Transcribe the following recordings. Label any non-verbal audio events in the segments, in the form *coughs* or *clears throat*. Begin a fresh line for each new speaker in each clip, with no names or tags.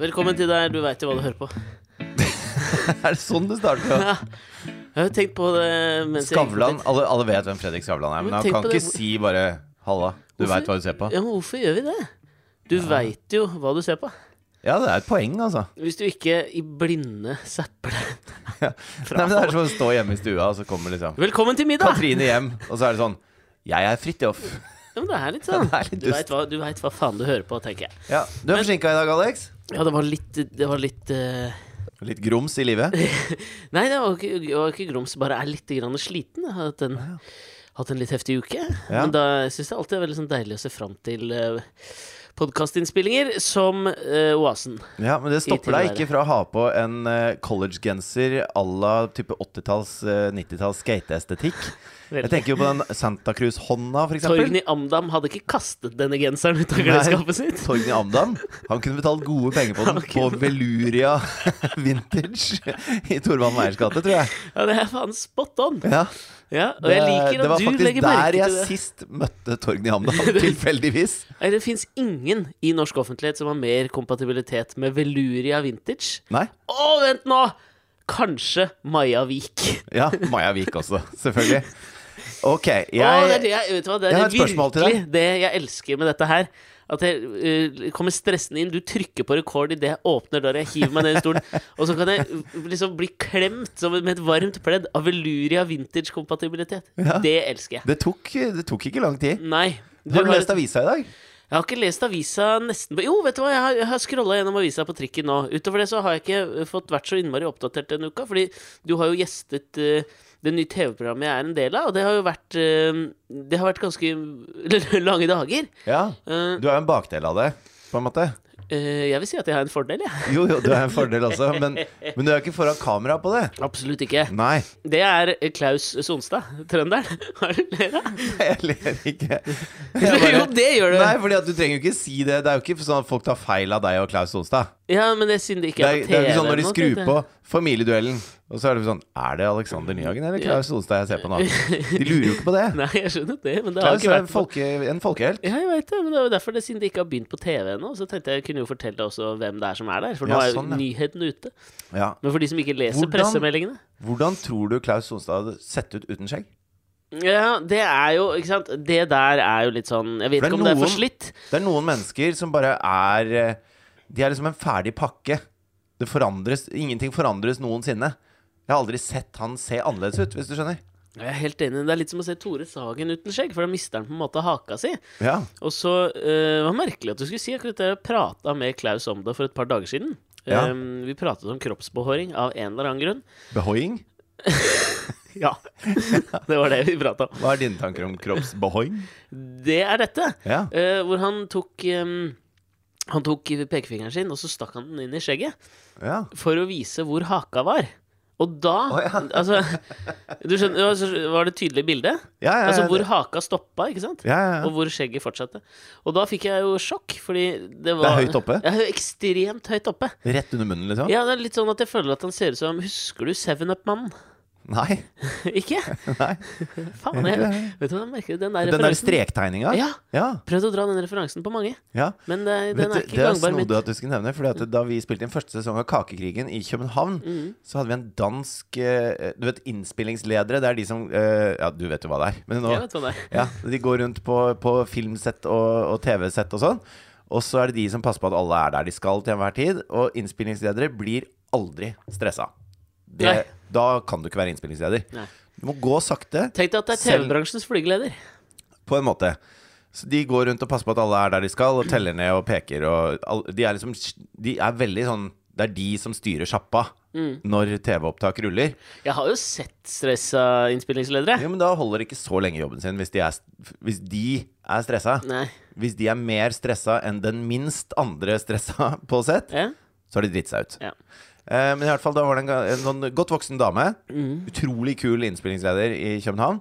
Velkommen til deg, du veit jo hva du hører på.
Er det sånn det starter?
Ja. *laughs* Jeg har jo tenkt på det mens jeg gikk
Skavlan,
dit.
alle, alle vet hvem Fredrik Skavlan er,
Men
men han
tenk
kan
på
ikke
det-
si bare 'halla, du
Hvorfor-
veit hva du ser på'.
Ja, men hvorfor gjør vi det? Du vet veit jo hva du ser på.
Ja, det er et poeng, altså.
Hvis du ikke i blinde zapper deg
Nei, men det er som å stå hjemme i stua, og så kommer liksom
Velkommen til middag!
Katrine hjem, og så er det sånn 'Jeg er Fridtjof'.
Ja, men det er litt sånn.
Ja, *laughs* det er litt
du
dust.
veit hva, du vet hva faen du hører på, tenker jeg.
Ja, du er forsinka i dag, Alex.
Ja, det var litt Det var litt eh,
Litt grums i livet.
Nei, det var ikke, det var ikke grums. Bare er litt grann sliten. Jeg har hatt en, hatt en litt heftig uke.
Ja.
Men da syns jeg alltid det er veldig sånn deilig å se fram til uh, podkastinnspillinger som eh, Oasen.
Ja,
*laughs*
Men det stopper deg ikke fra å ha på en eh, collegegenser à la type 80-talls, eh, 90-talls skateestetikk.
Veldig.
Jeg tenker jo på den Santa Cruz-hånda, for eksempel.
Torgny Amdam hadde ikke kastet denne genseren ut av
Nei.
klesskapet sitt.
Torgny Amdam. Han kunne betalt gode penger
*laughs*
på den på Veluria *laughs* Vintage i Torvald Meyers gate, tror jeg.
Ja, det er faen spot on!
Ja,
Ja, og jeg liker
det
at
var
du legger
faktisk der
merke
jeg
til det.
sist møtte Torgny
*laughs*
Amdam, tilfeldigvis.
Nei, Det fins ingen i norsk offentlighet som har mer kompatibilitet med Veluria vintage.
Nei.
Å, vent nå! Kanskje Maja Vik.
Ja, Maja Vik også, selvfølgelig. Ok,
Å, det er
jeg
det jeg, vet du hva, det er
jeg har et
det
spørsmål til deg.
virkelig det jeg elsker med dette her. At jeg eh, kommer stressende inn. Du trykker på rekord idet jeg åpner døra, jeg hiver meg ned i
*laughs*
stolen, og så kan jeg eh, liksom bli klemt som med et varmt pledd av Veluria vintage-kompatibilitet.
Ja.
Det elsker jeg.
det tok, det tok ikke lang tid.
Nei. du
Har du
har
lest
et-
avisa i dag?
Jeg har ikke lest avisa nesten på Jo, vet du hva, jeg har, jeg har scrolla gjennom avisa på trikken nå. Utover det så har jeg ikke eh, fått vært så innmari oppdatert denne uka, fordi du har jo gjestet eh, det nye TV-programmet jeg er en del av, og det har jo vært eh, Det har vært ganske *laughs* lange dager.
Ja.
Eh,
Du er jo en bakdel av det, på en måte.
eh, jeg vil si at jeg har en fordel, jeg.
Jo, jo, du er en fordel også, men, men du er jo ikke foran kamera på det.
Absolutt ikke.
Nei, *laughs*
Det er Klaus Sonstad, trønderen. *laughs* Hva er det du ler av?
jeg ler ikke. Jeg bare-
*laughs* Jo, det gjør du.
Nei, fordi at du trenger jo ikke si det. Det er jo ikke sånn at folk tar feil av deg og Klaus Sonstad.
Ja, men det er siden det
Det
ikke
er,
er på
det er jo
TV.
ikke sånn når de
nå,
skrur
tenkte jeg.
på Familieduellen, og så er det sånn Er det Alexander Nyhagen eller Klaus Sonstad jeg ser på nå? De lurer jo ikke på det.
*laughs* Nei, jeg skjønner det, men det har
Klaus
ikke
er
vært på
folke, en folkehelt.
Ja, jeg vet det, men det er jo derfor det siden det ikke har begynt på TV ennå. Så tenkte jeg kunne jo fortelle også hvem det er som er der, for nå
Ja,
er jo
sånn, ja.
nyheten ute.
Ja.
Men for de som ikke leser
Hvordan-
pressemeldingene
Hvordan tror du Klaus Sonstad hadde sett ut uten skjegg?
Ja, det er jo Ikke sant. Det der er jo litt sånn Jeg vet
For det er
ikke om det er
noen-
for slitt.
Det er noen mennesker som bare er eh, De er liksom en ferdig pakke. Det forandres, ingenting forandres noensinne. Jeg har aldri sett han se annerledes ut, hvis du skjønner.
Jeg er helt enig. Det er litt som å se Tore Sagen uten skjegg, for da mister han på en måte haka si.
Ja,
Og så eh, var det merkelig at du skulle si akkurat det. Jeg prata med Klaus om det for et par dager siden.
Ja.
Eh, vi pratet om kroppsbehåring av en eller annen grunn.
Behoing?
Ja. det var det vi prata om.
Hva er dine tanker om kroppsbehoing?
Det er dette.
Ja.
Eh, hvor han tok ehm, Han tok pekefingeren sin, og så stakk han den inn i skjegget
ja.
for å vise hvor haka var. Og da
Å, ja.
*laughs* Altså, du skjønner, ja, så var det et tydelig bilde?
Ja, ja, ja,
altså hvor
det-
haka stoppa, ikke sant?
ja, ja,
Og
ja.
hvor skjegget fortsatte. Og da fikk jeg jo sjokk, fordi det
Det
var
er høyt oppe?
Ja, ekstremt høyt oppe.
Rett under munnen, liksom?
Ja, det er litt sånn at jeg føler at han ser ut som Husker du Seven Up-mannen?
Nei.
*laughs* ikke?
*laughs* Nei.
Faen, jeg, vet du hva jeg merker? Den der
Den der
referansen.
strektegninga?
Ja.
ja.
Prøvd å dra den referansen på mange,
ja.
men eh,
Vet
den
du,
er ikke
det er
gangbar. mitt.
snodig at du skulle nevne Fordi at Da vi spilte inn første sesong av Kakekrigen i København,
Mm.
så hadde vi en dansk eh, Du vet, innspillingsledere. Det er de som eh, Ja, du vet jo hva det er. Men nå,
Jeg vet hva det er.
ja, de går rundt på, på filmsett og, og TV-sett og sånn. Og så er det de som passer på at alle er der de skal til enhver tid. Og innspillingsledere blir aldri stressa. Det,
Nei.
da kan du ikke være innspillingsleder.
Nei.
Du må gå sakte,
Tenk deg at det er
Selv-
TV-bransjens flygeleder.
på en måte. Så de går rundt og passer på at alle er der de skal, og teller ned og peker og all- De er liksom De er veldig sånn Det er de som styrer sjappa når TV-opptak ruller.
Jeg har jo sett stressa innspillingsledere.
Jo, men da holder de ikke så lenge jobben sin hvis de er, hvis de er stressa.
Nei.
Hvis de er mer stressa enn den minst andre stressa på sett,
Ja.
så har de dritt seg ut.
Ja.
Eh, men i hvert fall da var det en, ga- en sånn godt voksen dame.
Mm.
Utrolig kul innspillingsleder i København.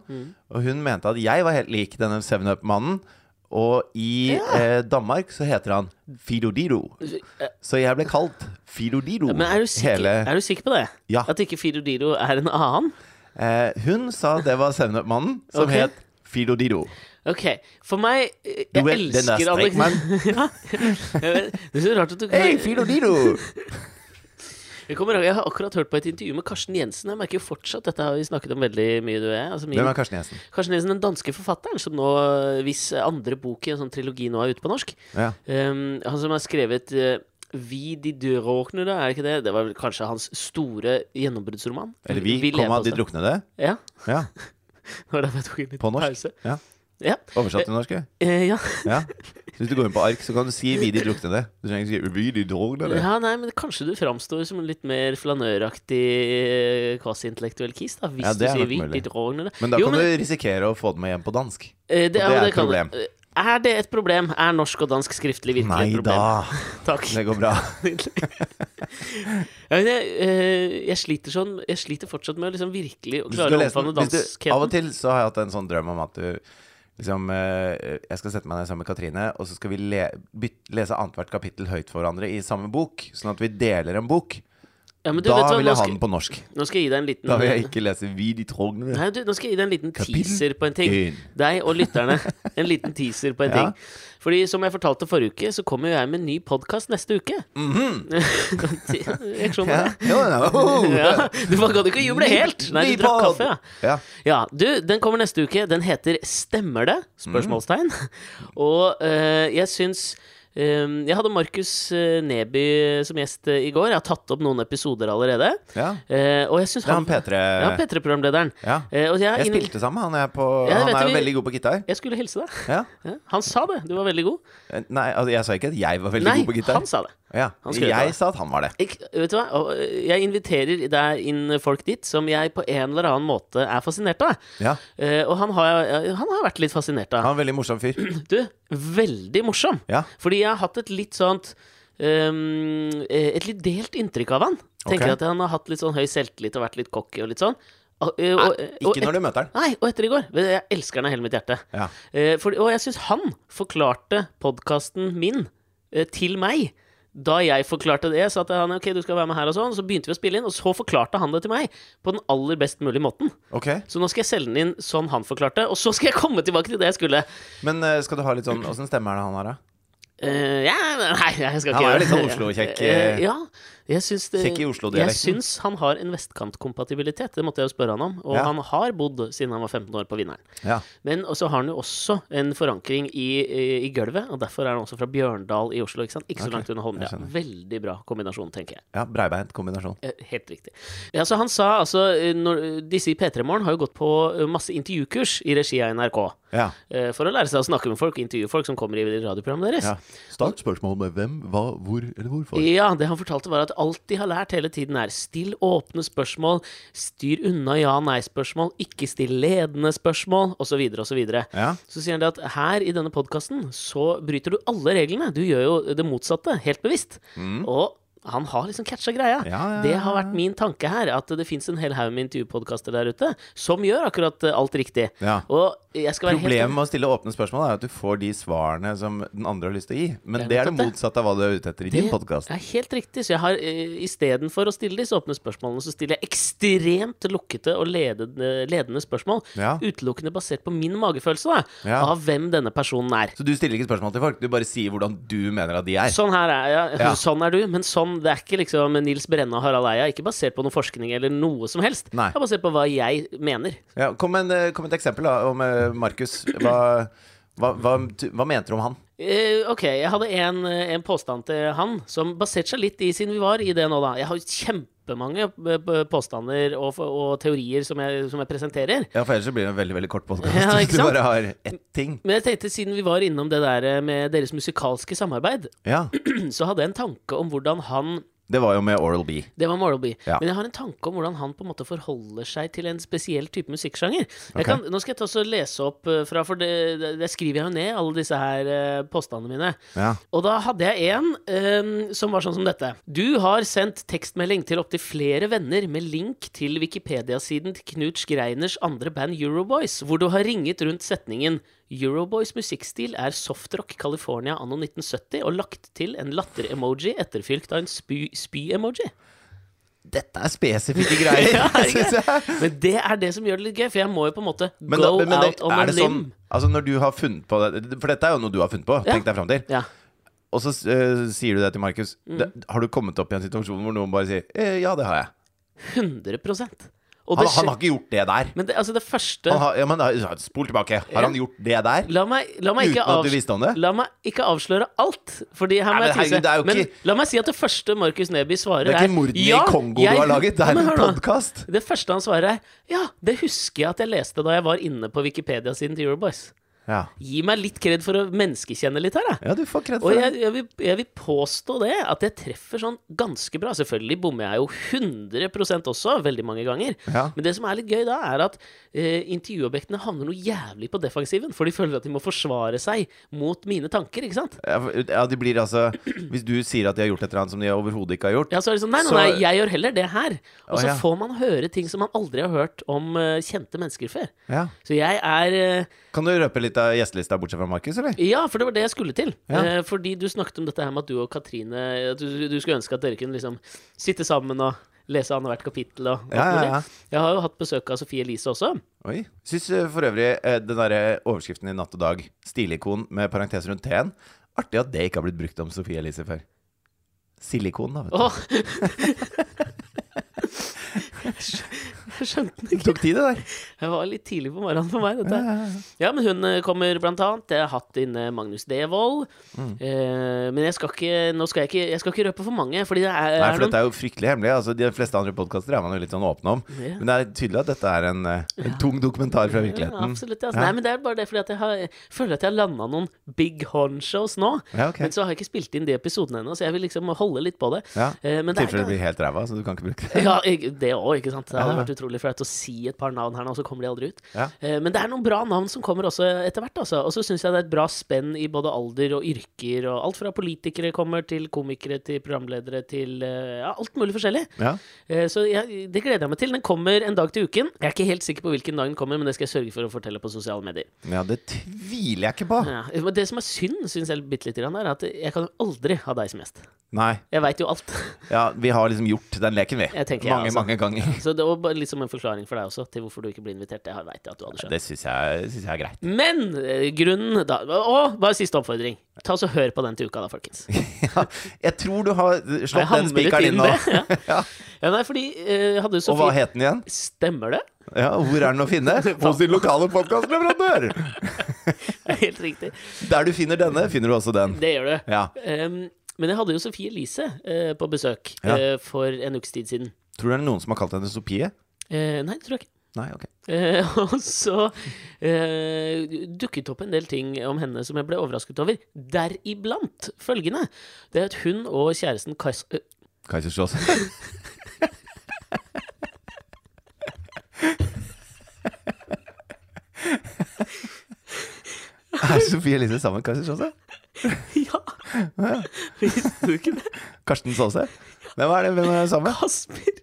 Og hun mente at jeg var helt lik denne 7-Up-mannen. Og i eh, Danmark så heter han Fidodido. Så jeg ble kalt Fidodido
Men er du, sikker,
hele
er du sikker på det?
Ja.
At ikke Fido Dido er en annen?
eh, Hun sa det var 7-Up-mannen, som
Ok.
het Fido Dido.
Ok, for meg Jeg
Du vet, den der
elsker Alex... *laughs* ja, jeg vet. det er så rart at du
Hei, Fido Dido!
*laughs* jeg, kommer, jeg har akkurat hørt på et intervju med Karsten Jensen. Jeg merker jo fortsatt Dette har vi snakket om veldig mye, du og jeg. Altså, min,
Hvem er Karsten Jensen?
Karsten Jensen, den danske forfatteren som nå, eh, hvis andre bok i en sånn trilogi nå er ute på norsk
Ja.
Um, han som har skrevet eh, Vi de døråkne, da, er det ikke det? Det var vel kanskje hans store gjennombruddsroman.
Eller vi,
lever
komma,
også.
de druknede.
Ja,
Ja,
det var derfor jeg tok en liten
På norsk?
pause.
Ja.
Ja.
Oversatt til norsk. ja.
Eh, ja.
Ja. Så hvis du går inn på ark, så kan du si 'vi de druknede'. Du trenger ikke si 'vi de druknede'.
ja, nei, men kanskje du framstår som en litt mer flanøraktig eh, kvasi-intellektuell kis, da. Hvis
Ja,
du
det er nok
sier vi,
mulig.
de drårene.
Men da kan du risikere å få det med hjem på dansk.
det,
det
ja,
er
men
et
kan-
problem.
eh, Er det et problem? Er norsk og dansk skriftlig virkelig
Nei
et problem?
da.
Takk.
Det går bra.
Ja, men jeg, eh, jeg sliter sånn Jeg sliter fortsatt med å liksom virkelig
Hvis du
klare å
leser
omfavne
den- hvis du,
danskheten.
av og til så har jeg hatt en sånn drøm om at du liksom eh, Jeg skal sette meg ned sammen med Katrine, og så skal vi le, byt, lese annethvert kapittel høyt for hverandre i samme bok. Sånn at vi deler en bok.
Ja, men du, vet du
Da
hva,
vil
nå
jeg ha
skal-
den på norsk.
Nå skal jeg gi deg en liten
Da vil jeg ikke lese 'Vi de trognene'.
Nei, du, nå skal jeg gi deg en liten
Kapittel
teaser på en ting.
en.
Deg og lytterne.
*laughs*
En liten teaser på en
Ja.
ting. Fordi som jeg fortalte forrige uke, så kommer jo jeg med en ny podkast neste uke. *laughs* jeg skjønner
Mhm. Ja.
det.
Jo, ja. Oh.
*laughs* Ja, sånn. du bare gadd ikke å juble helt! Nei, du drakk
Nypod.
kaffe, ja.
Ja.
Ja, du, den kommer neste uke. Den heter 'Stemmer det?' spørsmålstegn.
Mhm.
Og eh, jeg syns eh, Jeg hadde Markus eh, Neby som gjest eh, i går. Jeg har tatt opp noen episoder allerede.
ja.
Eh, og jeg syns
Det er
han
han P3.
Ja, P3-programlederen.
Ja.
Eh, og jeg,
Jeg
er inne-
spilte sammen med han. Jeg er, på,
Ja, jeg
han
vet
er
det,
jo
vi-
veldig god på gitar.
jeg skulle hilse deg.
Ja.
Ja, han sa det. Du var veldig god.
Nei, altså, jeg sa ikke at jeg var veldig
Nei,
god på gitar.
han sa det.
ja.
han skrev det.
Jeg sa at han var det.
Jeg, vet du hva? Og, eh, Jeg inviterer der inn eh, folk dit som jeg på en eller annen måte er fascinert av.
Ja.
Eh, og han har, jeg- han har jeg vært litt fascinert av.
Han er en veldig morsom fyr.
Du, veldig morsom.
Ja.
Fordi jeg har hatt et litt sånt ehm, eh, Et litt delt inntrykk av han. Tenker at
Ok.
han har hatt litt sånn høy selvtillit og vært litt cocky og litt sånn. Og, eh, og- og
Ikke når du møter han.
Nei, og etter i går. Vet du, Jeg elsker han av hele mitt hjerte.
Ja.
Eh, for, og jeg syns han forklarte podkasten min eh, til meg. Da jeg forklarte det, sa at han ok, du skal være med her og sånn, så begynte vi å spille inn, og så forklarte han det til meg på den aller best mulige måten.
Ok.
Så nå skal jeg selge den inn sånn han forklarte, og så skal jeg komme tilbake til det jeg skulle.
Men eh, skal du ha litt sånn Åssen stemme er det han har, da?
Eh, ja, men nei, jeg skal ikke
Han er jo
gjøre det.
litt sånn Oslo-kjekk, eh,
Eh, ja, jeg syns det
kjekk i Oslo-dialekten.
Jeg syns han har en vestkantkompatibilitet, det måtte jeg jo spørre han om. Og
Ja.
han har bodd siden han var 15 år på Vinneren.
Ja.
Men så har han jo også en forankring i, eh, i- i gulvet, og derfor er han også fra Bjørndal i Oslo. Ikke sant? Ikke så
Ok,
langt unna Holmlia.
jeg skjønner.
Veldig bra kombinasjon, tenker jeg.
ja Breibeint kombinasjon.
Eh, Helt riktig. Ja, så han sa altså eh, når, Disse i P3 Morgen har jo gått på eh, masse intervjukurs i regi av NRK.
Ja.
eh, For å lære seg å snakke med folk og intervjue folk som kommer i radioprogrammet deres.
ja. Start spørsmålet med hvem, hva, hvor eller hvorfor.
Ja, det han fortalte var at alt de har lært hele tiden er still åpne spørsmål, styr unna ja-nei-spørsmål, ikke still ledende spørsmål, osv., osv.
Ja.
Så sier han det at her i denne podkasten så bryter du alle reglene. Du gjør jo det motsatte, helt bevisst. Og han har liksom catcha greia.
Mm. Ja, ja,
Det
ja,
har vært min tanke her, at det fins en hel haug med intervjupodkaster der ute som gjør akkurat eh, alt riktig.
Ja.
Og jeg skal være
Problemet
helt
med å stille åpne spørsmål er at du får de svarene som den andre har lyst til å gi. Men
Det er
det er det
nettopp det.
motsatte av hva du er ute etter i din podkast.
Det er helt riktig. Så jeg har eh, istedenfor å stille disse åpne spørsmålene, så stiller jeg ekstremt lukkete og ledende, ledende spørsmål.
Ja.
Utelukkende basert på min magefølelse da,
Ja.
av hvem denne personen er.
Så du stiller ikke spørsmål til folk, du bare sier hvordan du mener at de er.
Sånn her er jeg,
Ja.
*laughs* sånn er du, men sånn, det er ikke liksom Nils Brenne og Harald Eia. Ikke basert på noe forskning eller noe som helst.
Nei.
Det er basert på hva jeg mener.
Ja, kom, med en, eh, kom med et eksempel da, om eh, Markus. Hva, hva, hva, du- hva mente du om han?
Eh, ok, jeg hadde en, eh, en påstand til han som baserte seg litt i siden vi var i det nå, da. Jeg har jo kjempemange eh, p- påstander og, f- og teorier som jeg, som jeg presenterer.
Ja, for ellers så blir det en veldig veldig kort podkast.
Ja, ikke
*laughs* du
sant?
bare har ett ting.
Men jeg tenkte, siden vi var innom det der eh, med deres musikalske samarbeid, *clears throat*
Ja,
så hadde jeg en tanke om hvordan han
Det var jo med Oral B.
Det var Morrowby.
Ja.
Men jeg har en tanke om hvordan han på en måte forholder seg til en spesiell type musikksjanger.
Ok.
Jeg kan, nå skal jeg ta også lese opp eh, fra, for det, det, det skriver jeg jo ned, alle disse her eh, påstandene mine.
Ja.
Og da hadde jeg en eh, som var sånn som dette. Du har sendt tekstmelding til opptil flere venner med link til Wikipedia-siden til Knut Skreiners andre band Euroboys, hvor du har ringet rundt setningen Euroboys musikkstil er softrock California anno 1970 og lagt til en latter-emoji etterfylt av en spy- spy-emoji.
Dette er spesifikke *laughs* greier,
Ja, ikke?
synes jeg.
Men det er det som gjør det litt gøy, for jeg må jo på en måte
Men, da,
go
men, men det,
out on a
er det sånn
limb.
Altså når du har funnet på det For dette er jo noe du har funnet på.
Ja.
Tenk deg frem til.
Ja.
Og så eh, sier du det til Markus. Det- Har du kommet opp i en situasjon hvor noen bare sier eh, 'ja, det har jeg'?
100 Og
Han,
det
han
skjer-
har ikke gjort det der.
Men det, altså, det første
Han har, ja, men eh, spol tilbake.
Ja.
Har han gjort det der?
La meg, la meg ikke
Uten at du
avs-
visste om det?
La meg ikke avsløre alt, Fordi her
Nei,
må
men
jeg tisse.
herregud, det er jo
men
ikke-
la meg si at det første Markus Neby svarer,
Det er ikke mordene
ja,
i Kongo
jeg-
du har laget, det
Ja,
er
men
en
hør nå.
podkast.
Det første han svarer, er ja, det husker jeg at jeg leste da jeg var inne på Wikipedia-siden til Euroboys.
Ja.
Gi meg litt kred for å menneskekjenne litt her, da.
ja, du får kred
Og
for det.
jeg, jeg, vil, jeg vil påstå det, at jeg treffer sånn ganske bra. Selvfølgelig bommer jeg jo 100 også, veldig mange ganger.
Ja.
Men det som er litt gøy da, er at eh, intervjuobjektene havner noe jævlig på defensiven. For de føler at de må forsvare seg mot mine tanker, ikke sant?
Ja, for- Ja, de blir altså Hvis du sier at de har gjort et eller annet som de overhodet ikke har gjort,
Ja, så er det sånn, nei, nei,
Så-
nei, jeg gjør heller det her. Og
Å,
så
ja.
får man høre ting som man aldri har hørt om eh, kjente mennesker før.
ja.
Så jeg er eh,
Kan du røpe litt av gjestelista bortsett fra Markus, eller?
Ja, for det var det jeg skulle til.
Ja.
Eh, fordi du snakket om dette her med at du og Katrine eh, At du, du skulle ønske at dere kunne liksom sitte sammen og lese annethvert kapittel og alt
Ja, ja,
mulig.
ja.
Jeg har jo hatt besøk av Sofie Elise også.
Oi. Syns eh, for øvrig eh, den derre overskriften i Natt og dag, stilikon med parentes rundt T-en, artig at det ikke har blitt brukt om Sofie Elise før. Silikon, da, vet du.
Åh!
*laughs*
*laughs* Jeg skjønte den
Det
ikke.
tok tid, det der.
Jeg var litt tidlig på morgenen for meg, dette.
Ja,
*laughs*
ja, ja.
Ja, men hun eh, kommer blant annet. Jeg har hatt inne Magnus Devold.
Mm.
Eh, men jeg skal ikke Nå skal jeg ikke Jeg skal ikke røpe for mange, fordi det er,
Nei,
er
for dette er jo fryktelig hemmelig. Altså, de fleste andre podkaster er man jo litt sånn åpne om.
Ja.
Men det er tydelig at dette er en, eh, en tung dokumentar fra
Ja,
virkeligheten.
absolutt. Altså. Nei, men det er bare det fordi at jeg, har, jeg føler at jeg har landa noen big honchos nå.
Ja, ok.
Men så har jeg ikke spilt inn de episodene ennå, så jeg vil liksom holde litt på det.
Ja.
Eh, men
I
det er
tilfelle det
ikke
blir helt ræva, så du kan ikke bruke det.
ja, jeg- det òg, ikke sant. Det hadde
Ja.
vært utrolig flaut å si et par navn her nå, så kommer de aldri ut.
Ja.
Eh, Men det er noen bra navn som kommer også etter hvert, altså. Og så syns jeg det er et bra spenn i både alder og yrker, og alt fra politikere kommer til komikere til programledere til eh, ja, alt mulig forskjellig.
Ja.
Eh, Så jeg, det gleder jeg meg til. Den kommer en dag til uken. Jeg er ikke helt sikker på hvilken dag den kommer, men det skal jeg sørge for å fortelle på sosiale medier.
ja, det tviler jeg ikke på.
Ja, men det som er synd, syns jeg bitte lite grann, er at jeg kan jo aldri ha deg som gjest.
Nei.
Jeg veit jo alt. *laughs*
Ja, vi har liksom gjort den leken, vi.
Jeg tenker, ja,
mange,
altså.
mange ganger.
Så det var bare litt som en forklaring for deg også, til hvorfor du ikke ble invitert. Det veit jeg at du hadde skjønt.
*laughs* Det syns jeg, synes jeg er greit. *laughs*
Men eh, grunnen da Og bare siste oppfordring. Ta oss og Hør på den til uka, da, folkens.
Ja, jeg tror du har slått den spikeren inn nå.
Ja.
*laughs* Ja.
ja, nei, fordi eh, hadde jo
Og hva
Sofie
het den igjen?
Stemmer det? *laughs*
Ja, Hvor er den å finne? Hos din lokale podkastleverandør!
Helt riktig.
Der du finner denne, finner du også den.
Det gjør du.
Ja.
Em, men jeg hadde jo Sofie Elise eh, på besøk
Ja.
eh, for en ukes tid siden.
Tror du det er noen som har kalt henne Sofie?
Eh, nei, det tror jeg ikke. *laughs*
Nei, ok.
Eh, og så eh, dukket opp en del ting om henne som jeg ble overrasket over. Deriblant følgende. Det er at hun og kjæresten Kais... eh, *laughs*
Kaiserslåss. Er Sofie Elise sammen med Kaiserslåse?
ja! *laughs* Visste du ikke det?
Karsten Saase? Nei, hva er det? Hvem er det sammen med?
Kasper.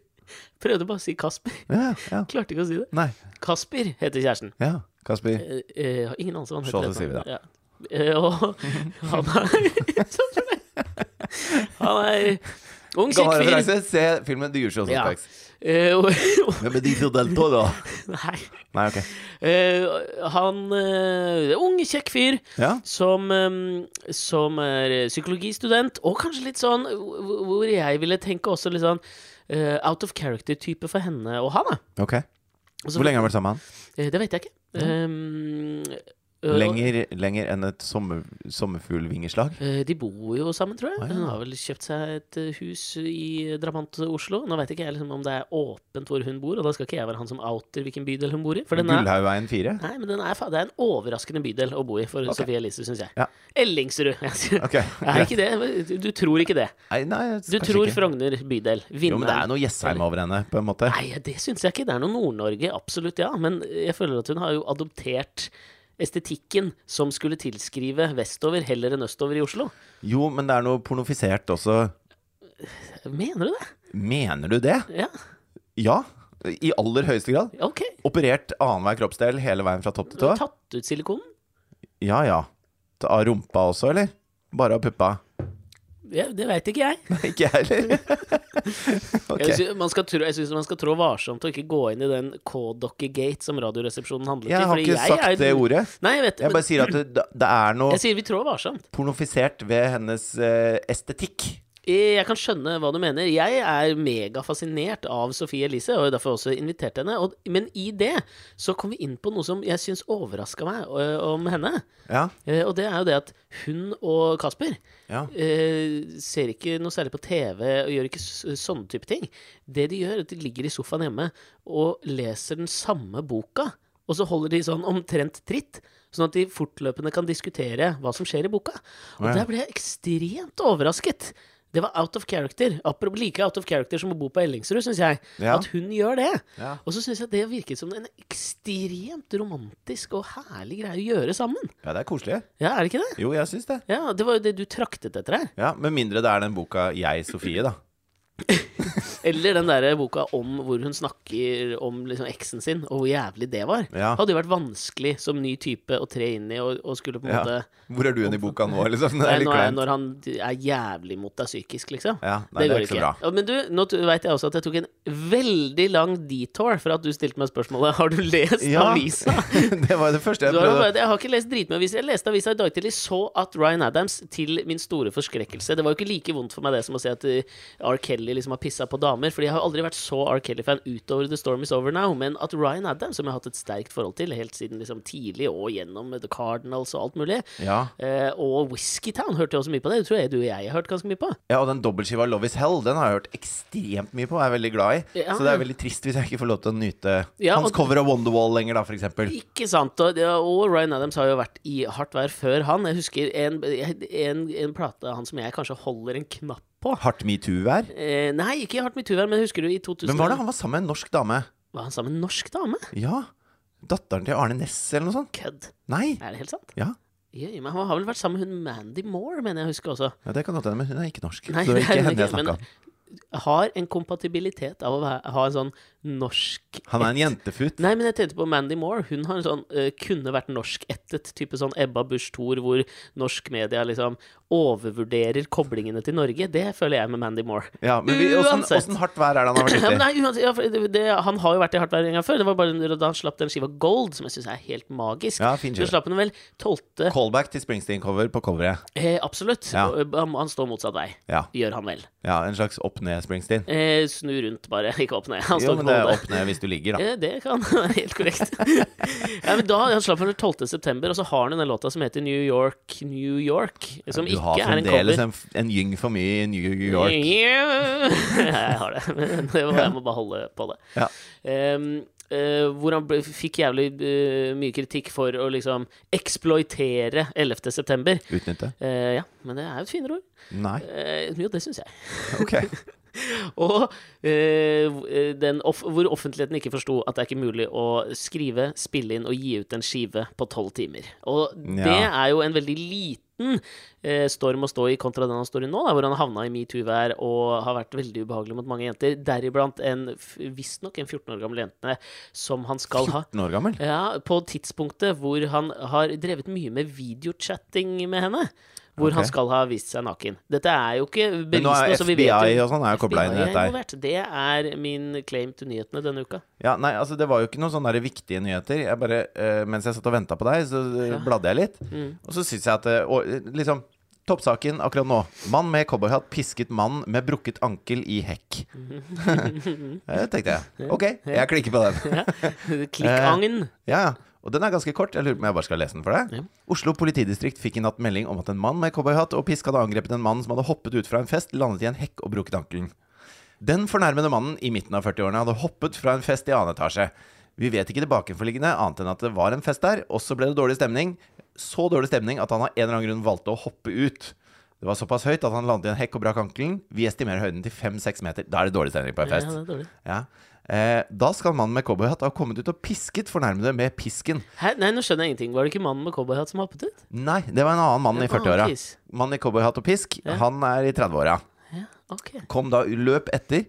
Prøvde bare å si Kasper.
Ja, ja.
Klarte ikke å si det.
Nei.
Kasper heter kjæresten.
Ja. Kasper.
Eh, eh, jeg har ingen anelse hva han
Så
heter.
så sier vi det.
Ja. Eh,
*laughs*
og han er Han er ung, kjekk
Gammel
fyr.
referanse. Se filmen The Usual
Ja.
Suspects.
Eh, og, og,
Hvem er Diesel Del Toro?
nei.
*laughs* Nei, ok.
Eh, han eh, Ung, kjekk fyr
Ja.
som, eh, som er eh, psykologistudent, og kanskje litt sånn eh, hvor hvor jeg ville tenke også litt sånn eh, out of character-type for henne og han. da.
Ok.
Og så-
Hvor lenge har du vært sammen med han?
Eh, det vet jeg ikke. Eh, og-
Lenger, lenger enn et sommer, sommerfuglvingeslag?
eh, de bor jo sammen, tror jeg.
Ah, ja.
Hun har vel kjøpt seg et eh, hus i Drabant Oslo. Nå vet ikke jeg liksom om det er åpent hvor hun bor, og da skal ikke jeg være han som outer hvilken bydel hun bor i. For den er,
Gullhaugveien 4?
nei, men den er, fa- det er en overraskende bydel å bo i for Sofie Elise, syns jeg.
Ja.
Ellingsrud. Jeg sier. *laughs*
Ok.
Er ikke det? Du- Du tror ikke det.
Nei, nei,
Du
kanskje
tror
ikke.
Frogner bydel.
Jo, men det er
Vinneren.
noe Jessheim over henne, på en måte.
Nei, det syns jeg ikke. Det er noe Nord-Norge, absolutt, ja. Men jeg føler at hun har jo adoptert estetikken som skulle tilskrive vestover heller enn østover i Oslo.
Jo, men det er noe pornofisert også.
Mener du det?
Mener du det?
Ja,
Ja. I aller høyeste grad.
ok.
Operert annenhver kroppsdel hele veien fra topp til tå.
Tatt ut silikonen?
Ja ja. Ta- Av rumpa også, eller? Bare av puppa. *laughs*
Ja, det veit ikke jeg.
Ikke jeg heller. *laughs* Ok.
Jeg syns man, skal trå- jeg synes man skal trå varsomt og ikke gå inn i den K-dokke-gate som Radioresepsjonen handlet
Jeg
i.
har
fordi
ikke sagt
er-
det ordet.
Nei, jeg vet
Jeg
men
bare sier at det, det er noe
jeg sier vi trår varsomt.
pornofisert ved hennes eh, estetikk.
Eh, Jeg kan skjønne hva du mener. Jeg er megafascinert av Sophie Elise, og har derfor også invitert henne. Og, men i det så kom vi inn på noe som jeg syns overraska meg ø, om henne.
Ja,
Eh, Og det er jo det at hun og Kasper
ja.
eh, ser ikke noe særlig på TV og gjør ikke s- sånne type ting. Det de gjør, er at de ligger i sofaen hjemme og leser den samme boka. Og så holder de sånn omtrent tritt, sånn at de fortløpende kan diskutere hva som skjer i boka. Og
Ja.
der ble jeg ekstremt overrasket. Det var out of character. Apropos like out of character som å bo på Ellingsrud, syns jeg.
Ja.
At hun gjør det.
Ja.
Og så syns jeg det virket som en ekstremt romantisk og herlig greie å gjøre sammen.
ja, det er koselig.
Ja, er det ikke det?
Jo, jeg syns det.
Ja, det var jo det du traktet etter her.
Ja, Med mindre det er den boka Jeg, Sofie, da.
Eller den der boka om hvor hun snakker om liksom eksen sin, og hvor jævlig det var.
Ja.
Hadde jo vært vanskelig som ny type å tre inn i og, og skulle på en
Ja.
måte
Hvor er du hen i boka nå, liksom? *laughs* Det
Nei,
er litt
nå er,
kleint.
Når han er jævlig mot deg psykisk, liksom.
Ja, nei, det er ikke så bra.
Ja, Men du, nå veit jeg også at jeg tok en veldig lang detour for at du stilte meg spørsmålet *laughs* Har du lest
Ja.
avisa.
*laughs* det var det første jeg
Du har jo
prøvde.
bare, jeg har ikke lest dritmye aviser. Jeg leste avisa i dag tidlig, så at Ryan Adams, til min store forskrekkelse Det var jo ikke like vondt for meg det som å se at eh, R. Kelly liksom har pissa på damer. Fordi jeg har aldri vært så R. Kelly-fan utover The Storm Is Over Now. Men at Ryan Adams, som jeg har hatt et sterkt forhold til helt siden liksom tidlig, og gjennom The Cardinals og alt mulig
Ja.
eh, Og Whiskytown hørte jeg også mye på det. Det tror jeg du og jeg har hørt ganske mye på.
ja, og den dobbeltskiva Love is Hell, den har jeg hørt ekstremt mye på og er veldig glad i.
Ja.
Så det er veldig trist hvis jeg ikke får lov til å nyte
Ja,
hans
og-
cover av Wonderwall lenger, da, for eksempel.
Ikke sant. Og, det- og Ryan Adams har jo vært i hardt vær før han. Jeg husker en, en, en plate av han som jeg kanskje holder en knapp på.
Hardt metoo-vær.
Eh, nei, ikke i hardt mitt uvær, men husker du i 2000
Men var det han var sammen med en norsk dame?
Var han sammen med en norsk dame?
Ja. Datteren til Arne Næss, eller noe sånt?
Kødd.
Nei.
Er det helt sant?
Ja.
Jøye, men han har vel vært sammen med hun Mandy Moore, mener jeg å huske også.
ja, det kan godt hende, men hun er ikke norsk.
Nei,
så
det
det er
er hun
ikke henne
ikke,
jeg snakka om.
Har en kompatibilitet av å være, ha en sånn norsk
Han er en jentefut.
Nei, men jeg tenkte på Mandy Moore. Hun har en sånn, eh, kunne vært norskættet type sånn Ebba Busch Thor, hvor norsk media liksom overvurderer koblingene til Norge. Det føler jeg med Mandy Moore.
Ja, men
*laughs*
vi- åssen
Uansett.
åssen hardt vær er det han
*laughs*
har vært
Ja, men
ute i?
nei, uansett, ja, for det, det, han har jo vært i hardt vær en gang før. Det var bare da han slapp den skiva Gold, som jeg syns er helt magisk.
Ja, fin
Du
skive.
slapp den vel 12.
Callback til Springsteen-cover på coveret.
Eh, absolutt.
Ja.
Og, eh, Han står motsatt vei.
Ja.
Gjør han vel.
ja, en slags opp-ned-Springsteen.
Eh, snu rundt, bare. Ikke opp ned. *laughs* Han
Jo,
står
men
ikke
det
på
er
hodet.
opp ned hvis du ligger, da.
Eh, det kan være helt korrekt. *laughs* ja, men da, Han slapp den 12. september, og så har han den låta som heter New York, New York. *laughs* Som
Du har
ikke er en
fremdeles
cover.
en, en gyng for mye i New York.
*laughs* Ja, jeg har det, *laughs* men det må, jeg må bare holde på det.
Ja.
Ehm, eh, hvor han ble, fikk jævlig eh, mye kritikk for å liksom eksploitere 11. september.
Utnytte?
Eh, ja, men det er jo et finere ord.
Nei.
Eh, jo, det syns jeg.
Ok.
Og eh, den off hvor offentligheten ikke forsto at det er ikke mulig å skrive, spille inn og gi ut en skive på tolv timer. Og det
Ja.
er jo en veldig liten eh, storm å stå i kontra den han står i nå, da, hvor han havna i metoo-vær og har vært veldig ubehagelig mot mange jenter, deriblant en f- visstnok en 14 år gammel jente som han skal
*laughs*
ha
14 år gammel?
ja, på tidspunktet hvor han har drevet mye med videochatting med henne. Hvor
Ok.
han skal ha vist seg naken. Dette er jo ikke
Men nå er
bevisende, så vi vet
FBI
jo
og sånn er jo kobla inn i
FBI er
dette her.
involvert. Det er min claim til nyhetene denne
*laughs*
uka.
Ja, nei, altså Det var jo ikke noen sånne der viktige nyheter. Jeg bare, eh, Mens jeg satt og venta på deg, så eh,
Ja. Mm.
bladde jeg litt. Og så syns jeg at eh, og, eh, liksom, Toppsaken akkurat nå. Mann med cowboyhatt pisket mann med brukket ankel i hekk.
*laughs*
*laughs* Det tenkte jeg. Ok, jeg klikker på den.
Klikkangen.
Ja, ja. Og den er ganske kort. Jeg lurer på om jeg bare skal lese den for deg.
Ja.
Oslo politidistrikt fikk i natt melding om at en mann med cowboyhatt og pisk hadde angrepet en mann som hadde hoppet ut fra en fest, landet i en hekk og brukket ankelen. Den fornærmede mannen i midten av 40-årene hadde hoppet fra en fest i annen etasje. Vi vet ikke det bakenforliggende, annet enn at det var en fest der. Også ble det dårlig stemning. Så dårlig stemning at han av en eller annen grunn valgte å hoppe ut. Det var såpass høyt at han landet i en hekk og brakk ankelen. Vi estimerer høyden til 5-6 meter. Da er det dårlig stemning på en
Ja,
fest.
det er dårlig.
Ja. Eh, da skal mannen med cowboyhatt ha kommet ut og pisket fornærmede med pisken.
Hæ? Nei, nå skjønner jeg ingenting. Var det ikke mannen med cowboyhatt som hoppet ut?
Nei, det var en annen mann
En
i
annen
40-åra.
kis.
Mann i cowboyhatt og pisk,
Ja.
han er i 30-åra.
Ja, ok.
Kom da, løp etter.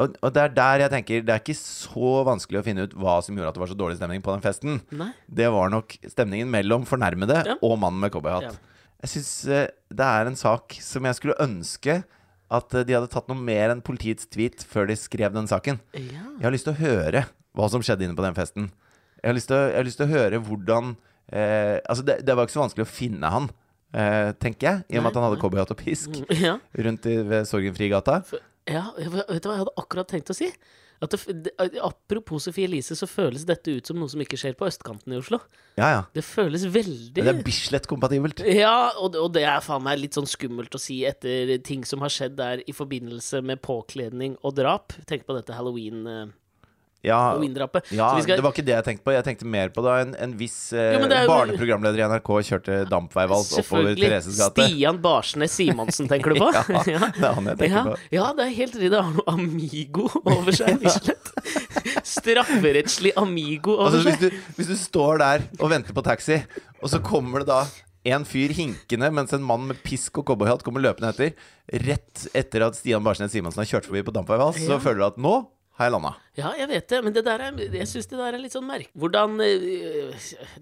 Og, og det er der jeg tenker det er ikke så vanskelig å finne ut hva som gjorde at det var så dårlig stemning på den festen.
Nei.
Det var nok stemningen mellom fornærmede
Ja.
og mannen med cowboyhatt. Jeg syns eh, det er en sak som jeg skulle ønske at eh, de hadde tatt noe mer enn politiets tweet før de skrev den saken.
Ja.
Jeg har lyst til å høre hva som skjedde inne på den festen. Jeg har lyst til å, jeg har lyst til å høre hvordan eh, Altså, det, det var ikke så vanskelig å finne han, eh, tenker jeg, i og med at han hadde cowboyhatt og pisk
Mm, Ja.
rundt i, ved Sorgenfrigata.
ja, jeg- vet du hva jeg hadde akkurat tenkt å si? At det, f- det, eh, apropos Sophie Elise, så føles dette ut som noe som ikke skjer på østkanten i Oslo.
Ja, ja.
Det føles veldig
Men det er Bislett-kompatibelt.
Ja, og, og det er faen meg litt sånn skummelt å si etter ting som har skjedd der i forbindelse med påkledning og drap. Tenk på dette halloween, eh,
Ja,
halloween-drapet.
ja
Så vi skal-
det var ikke det jeg tenkte på. Jeg tenkte mer på da en, en viss eh,
Jo, men det er jo-
barneprogramleder i NRK kjørte dampveivals oppover Thereses gate.
Stian Barsnes Simonsen, tenker du på?
*laughs*
*laughs*
Ja, det er han jeg tenker
ja,
på.
ja, det er helt riktig. Det har noe amigo over
*laughs*
seg, Bislett. *laughs* Strafferettslig amigo over
Altså, hvis,
seg.
du, hvis du står der og venter på taxi, og så kommer det da en fyr hinkende mens en mann med pisk og cowboyhatt kommer løpende etter, rett etter at Stian Barsnes Simonsen har kjørt forbi på Dampveivals,
Ja.
så føler du at nå har jeg landa.
Ja, jeg vet det, men det der er, jeg syns det der er litt sånn merk... Hvordan eh,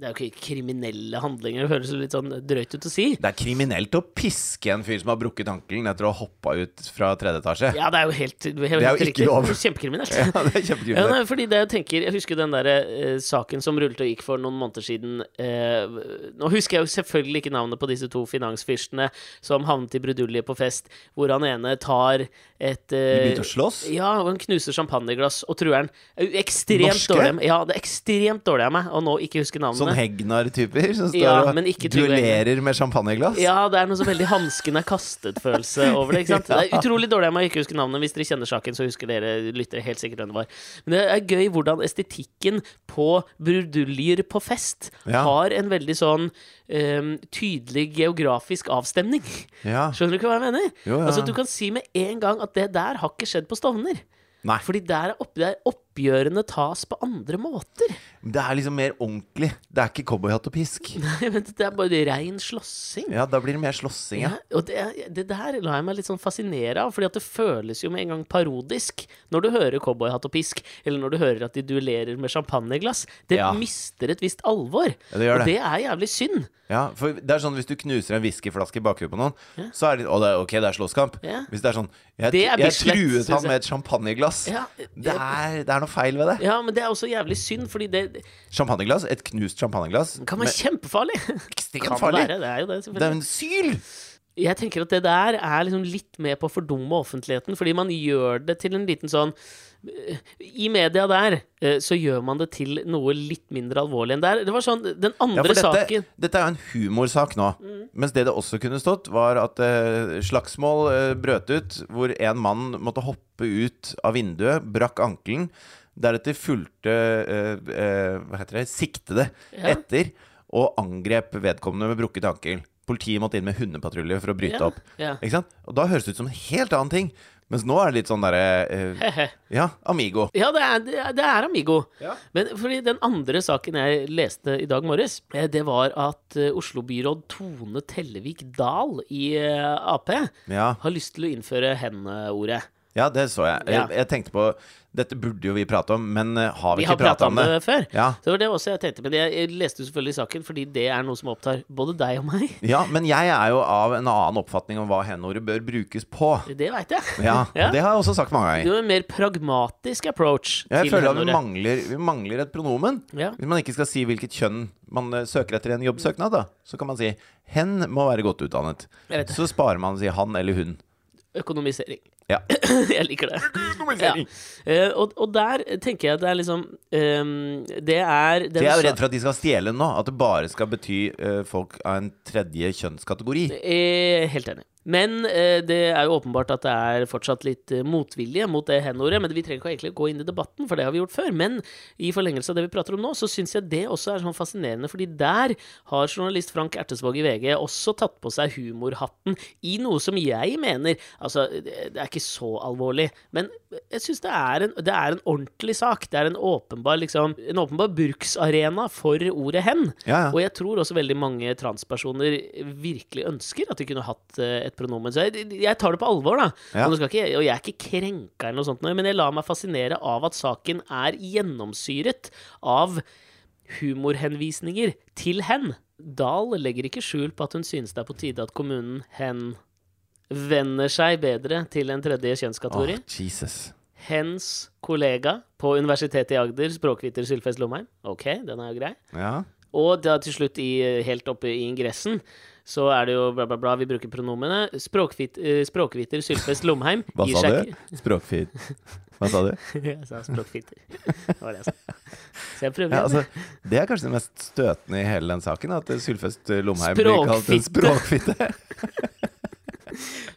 Det er jo ikke kriminelle handlinger, det høres litt sånn drøyt ut å si.
Det er kriminelt å piske en fyr som har brukket ankelen etter å ha hoppa ut fra tredje etasje.
Ja, det er jo helt, helt Det
jo ikke lov.
Kjempekriminelt.
*laughs* Ja, det er
Ja,
kjempekriminelt.
nei, fordi det Jeg tenker Jeg husker den der, eh, saken som rullet og gikk for noen måneder siden. Eh, nå husker jeg jo selvfølgelig ikke navnet på disse to finansfyrstene som havnet i brudulje på fest, hvor han ene tar et
De
eh,
begynte å slåss.
ja, og han knuser champagneglass og truer han. Eh, Ekstremt
Norske?
dårlig. Ja, det er ekstremt dårlig av meg å nå ikke huske navnene.
Sånn Hegnar-typer som står
Ja, men
og
ikke Trygve Hegnar.
duellerer med champagneglass.
Ja, det er noe så veldig hansken er kastet-følelse over det. ikke sant? Det er utrolig dårlig av meg å ikke huske navnet. Hvis dere kjenner saken, så husker dere lyttere helt sikkert hvem det var. Men det er gøy hvordan estetikken på bruduljer på fest
Ja.
har en veldig sånn ehm, tydelig geografisk avstemning.
Ja.
Skjønner du ikke hva jeg mener?
Jo, ja.
Altså, Du kan si med en gang at det der har ikke skjedd på Stovner.
Nei,
Fordi der, er opp, der oppgjørene tas på andre måter. *laughs*
det er liksom mer ordentlig. Det er ikke cowboyhatt og pisk.
Nei, men Det er bare rein slåssing.
Ja, da blir det mer slåssing, ja.
Ja, Eh, og det, det der lar jeg meg litt sånn fascinere av, fordi at det føles jo med en gang parodisk når du hører cowboyhatt og pisk, eller når du hører at de duellerer med champagneglass. Det
Ja.
mister et visst alvor,
Ja, det gjør det.
og det er jævlig synd.
Ja, for det er sånn Hvis du knuser en whiskyflaske i bakhuet på noen, så er det, å, det er, ok, det er slåsskamp.
Ja.
Hvis det er sånn Jeg,
Det er
jeg
Bislett,
truet
synes
han
jeg.
med et champagneglass.
Ja,
Det, er, det er noe feil ved det.
ja, men det er også jævlig synd, fordi det
Champagneglass, Et knust champagneglass
kan være
*laughs*
kjempefarlig.
Ekstremt
Kan
farlig.
være, det er jo det,
Det er
selvfølgelig.
en syl!
Jeg tenker at det der er liksom litt med på å fordumme offentligheten, fordi man gjør det til en liten sånn I media der eh, så gjør man det til noe litt mindre alvorlig enn det er. Det var sånn Den
Ja,
andre
for dette,
saken Mm.
dette er jo en humorsak nå. Mens det det også kunne stått, var at eh, slagsmål eh, brøt ut, hvor en mann måtte hoppe ut av vinduet, brakk ankelen. Deretter fulgte eh, eh, hva heter det, siktede
Ja.
etter og angrep vedkommende med brukket ankel. Politiet måtte inn med hundepatrulje for å bryte
Ja,
opp.
ja.
Ikke sant? Og da høres det ut som en helt annen ting. Mens nå er det litt sånn derre eh, Ja, amigo.
*laughs* Ja, det er, det er- det er Amigo.
Ja.
Men fordi den andre saken jeg leste i dag morges, eh, det var at eh, Oslo-byråd Tone Tellevik Dahl i eh, Ap har
Ja.
lyst til å innføre hen-ordet.
Ja, det så jeg.
Ja.
jeg. Jeg tenkte på Dette burde jo vi prate om, men eh, har vi,
Vi har
ikke
prata
prata om det?
før.
Ja.
Så det var det også jeg tenkte. Men jeg, jeg leste jo selvfølgelig saken, fordi det er noe som opptar både deg og meg.
Ja, men jeg er jo av en annen oppfatning om hva hen-ordet bør brukes på.
*laughs* Det veit jeg.
Ja,
Ja.
Det har jeg også sagt mange
Det
ganger.
var en mer pragmatisk approach
Jeg
til
føler at vi
hen-ordet.
mangler, vi mangler et pronomen.
Ja.
Hvis man ikke skal si hvilket kjønn man eh, søker etter i en jobbsøknad, da, så kan man si 'hen må være godt utdannet'.
Jeg vet det.
Så sparer man å si 'han' eller 'hun'.
Økonomisering. *laughs* *coughs*
Ja.
jeg liker det. Ja. *laughs* Eh, og, og der tenker jeg det er liksom eh, Det er
For jeg er jo redd for at de skal stjele den nå. At det bare skal bety eh, folk av en tredje kjønnskategori.
Eh, helt enig. Men eh, det er jo åpenbart at det er fortsatt litt eh, motvilje mot det hen-ordet. Men vi trenger ikke egentlig gå inn i debatten, for det har vi gjort før. Men i forlengelse av det vi prater om nå, så syns jeg det også er sånn fascinerende. Fordi der har journalist Frank Ertesvåg i VG også tatt på seg humorhatten i noe som jeg mener Altså, det det er ikke så alvorlig, men jeg syns det, er en- det er en ordentlig sak. Det er en åpenbar, liksom, en åpenbar bruksarena for ordet hen.
Ja, ja.
Og jeg tror også veldig mange transpersoner virkelig ønsker at de kunne hatt eh, et pronomen. Så jeg, jeg tar det på alvor, da.
Ja.
Og, nå skal ikke, og jeg er ikke krenka eller noe sånt, nå, men jeg lar meg fascinere av at saken er gjennomsyret av humorhenvisninger til hen. Dahl legger ikke skjul på at hun synes det er på tide at kommunen hen venner seg bedre til en tredje kjønnskategori.
Åh, Jesus.
Hens kollega på Universitetet i Agder, språkviter Sylfest Lomheim. Ok, den er jo grei.
Ja.
Og da til slutt, i, eh, helt oppe i ingressen, så er det jo bla, bla, bla, vi bruker pronomene. Språkvit, eh, språkviter Sylfest Lomheim
Hva
gir
sa
seg *laughs*
du? Språkfyr. Hva sa du?
ikke Jeg sa språkfiter. Det var det jeg sa. Så jeg prøver
*laughs* Ja,
igjen.
altså, det er kanskje det mest støtende i hele den saken, at Sylfest eh, Lomheim blir kalt en språkfitte.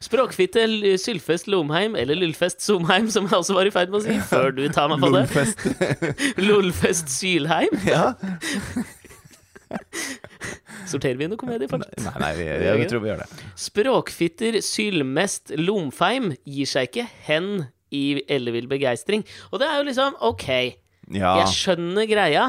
Språkfitte L- Sylfest Lomheim, eller Lullfest Somheim, som jeg også var i ferd med å si, før du tar meg på det.
Lomfest. *laughs*
Lolfest Sylheim.
Ja.
Sorterer vi noe komedie fortsatt?
Nei, nei, vi, jeg, tror vi gjør det.
Språkfitter Sylmest Lomfeim gir seg ikke hen i ellevill begeistring. Og det er jo liksom ok,
Ja.
jeg skjønner greia,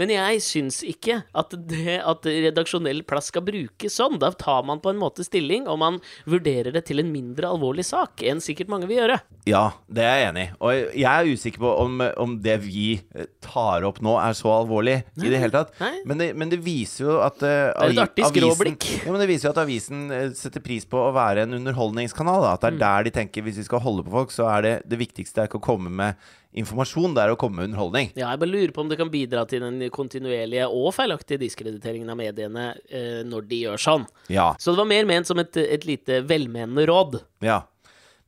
men jeg syns ikke at, det, at redaksjonell plass skal brukes sånn. Da tar man på en måte stilling, og man vurderer det til en mindre alvorlig sak enn sikkert mange vil gjøre.
ja, det er jeg enig i. Og jeg- jeg er usikker på om, om det vi tar opp nå, er så alvorlig i det hele tatt.
Nei.
Men det, men det viser jo at eh,
er et
avi-
artig
avisen-
skråblikk.
Ja, men det viser jo at avisen eh, setter pris på å være en underholdningskanal. Da. At
Mm.
det er der de tenker hvis vi skal holde på folk, så er det det viktigste er ikke å komme med informasjon, det er å komme med underholdning.
Ja, jeg bare lurer på om det kan bidra til den kontinuerlige og feilaktige diskrediteringen av mediene eh, når de gjør sånn.
Ja.
Så det var mer ment som et, et lite velmenende råd.
Ja.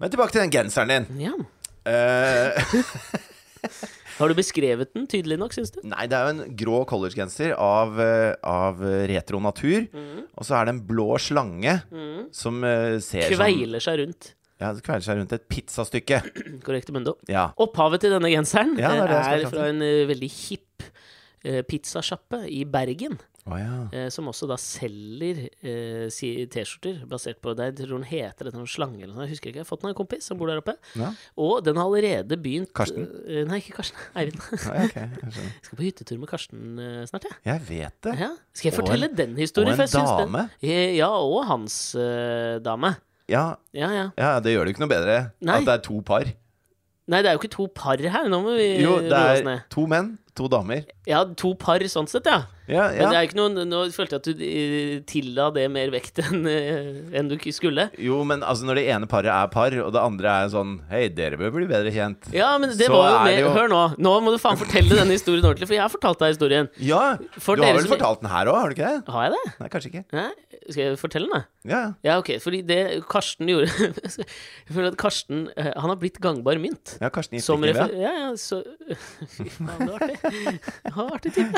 Men tilbake til den genseren din.
Ja.
Eh,
Har du beskrevet den tydelig nok, syns du?
nei, det er jo en grå collegegenser av, eh, av eh, retro natur.
Mhm.
Og så er det en blå slange som eh, ser som
Kveiler seg rundt.
Ja, det kveiler seg rundt et pizzastykke.
Korrekt mundo.
Ja.
Opphavet til denne genseren
Ja, det er det jeg
eh,
skal
er
fram til.
fra en eh, veldig hipp eh, pizzasjappe i Bergen,
Å ja.
eh, som også da selger eh, si T-skjorter basert på det. Jeg tror den heter det, noen slange eller noe sånt. Jeg husker ikke. Jeg har fått den av en kompis som bor der oppe.
Ja.
Og den har allerede begynt
Karsten?
eh, Nei, ikke Karsten. *laughs* Eivind. Jeg
Ja, ok, jeg, skjønner.
skal på hyttetur med Karsten eh, snart, jeg.
jeg vet
*laughs*
det.
Ja. Skal jeg
Og en-
fortelle den historien?
og en
for jeg syns den-
dame.
Eh, Ja, og hans eh, dame.
Ja,
Ja, ja.
ja, det gjør det jo ikke noe bedre
Nei.
at det er to par.
Nei, det er jo ikke to par her. Nå må vi
Jo, det
roe Eh, oss
er
ned.
to menn, to damer.
Ja, to par sånn sett, ja.
Ja,
Men det
ja.
er ikke noe, nå følte jeg at du eh, tilla det mer vekt enn eh, enn du ikke skulle.
Jo, men altså når det ene paret er par, og det andre er sånn Hei, dere bør bli bedre kjent.
Ja, men det
Så
var jo
er
mer
det jo-
Hør nå. Nå må du faen fortelle denne historien ordentlig, for jeg har fortalt deg historien.
Ja,
For
du
dere
har vel
som-
fortalt den her òg, har du ikke det?
Har jeg det?
Nei, kanskje ikke.
Nei? Skal jeg fortelle den, da?
Ja, ja.
Ja, ok. Fordi det Karsten gjorde *laughs* Jeg føler at Karsten eh, Han har blitt gangbar mynt.
Ja, Karsten gikk
Som
ikke
refer... Ja, ja, så *laughs* Fy faen, det var artig. Det var artig type.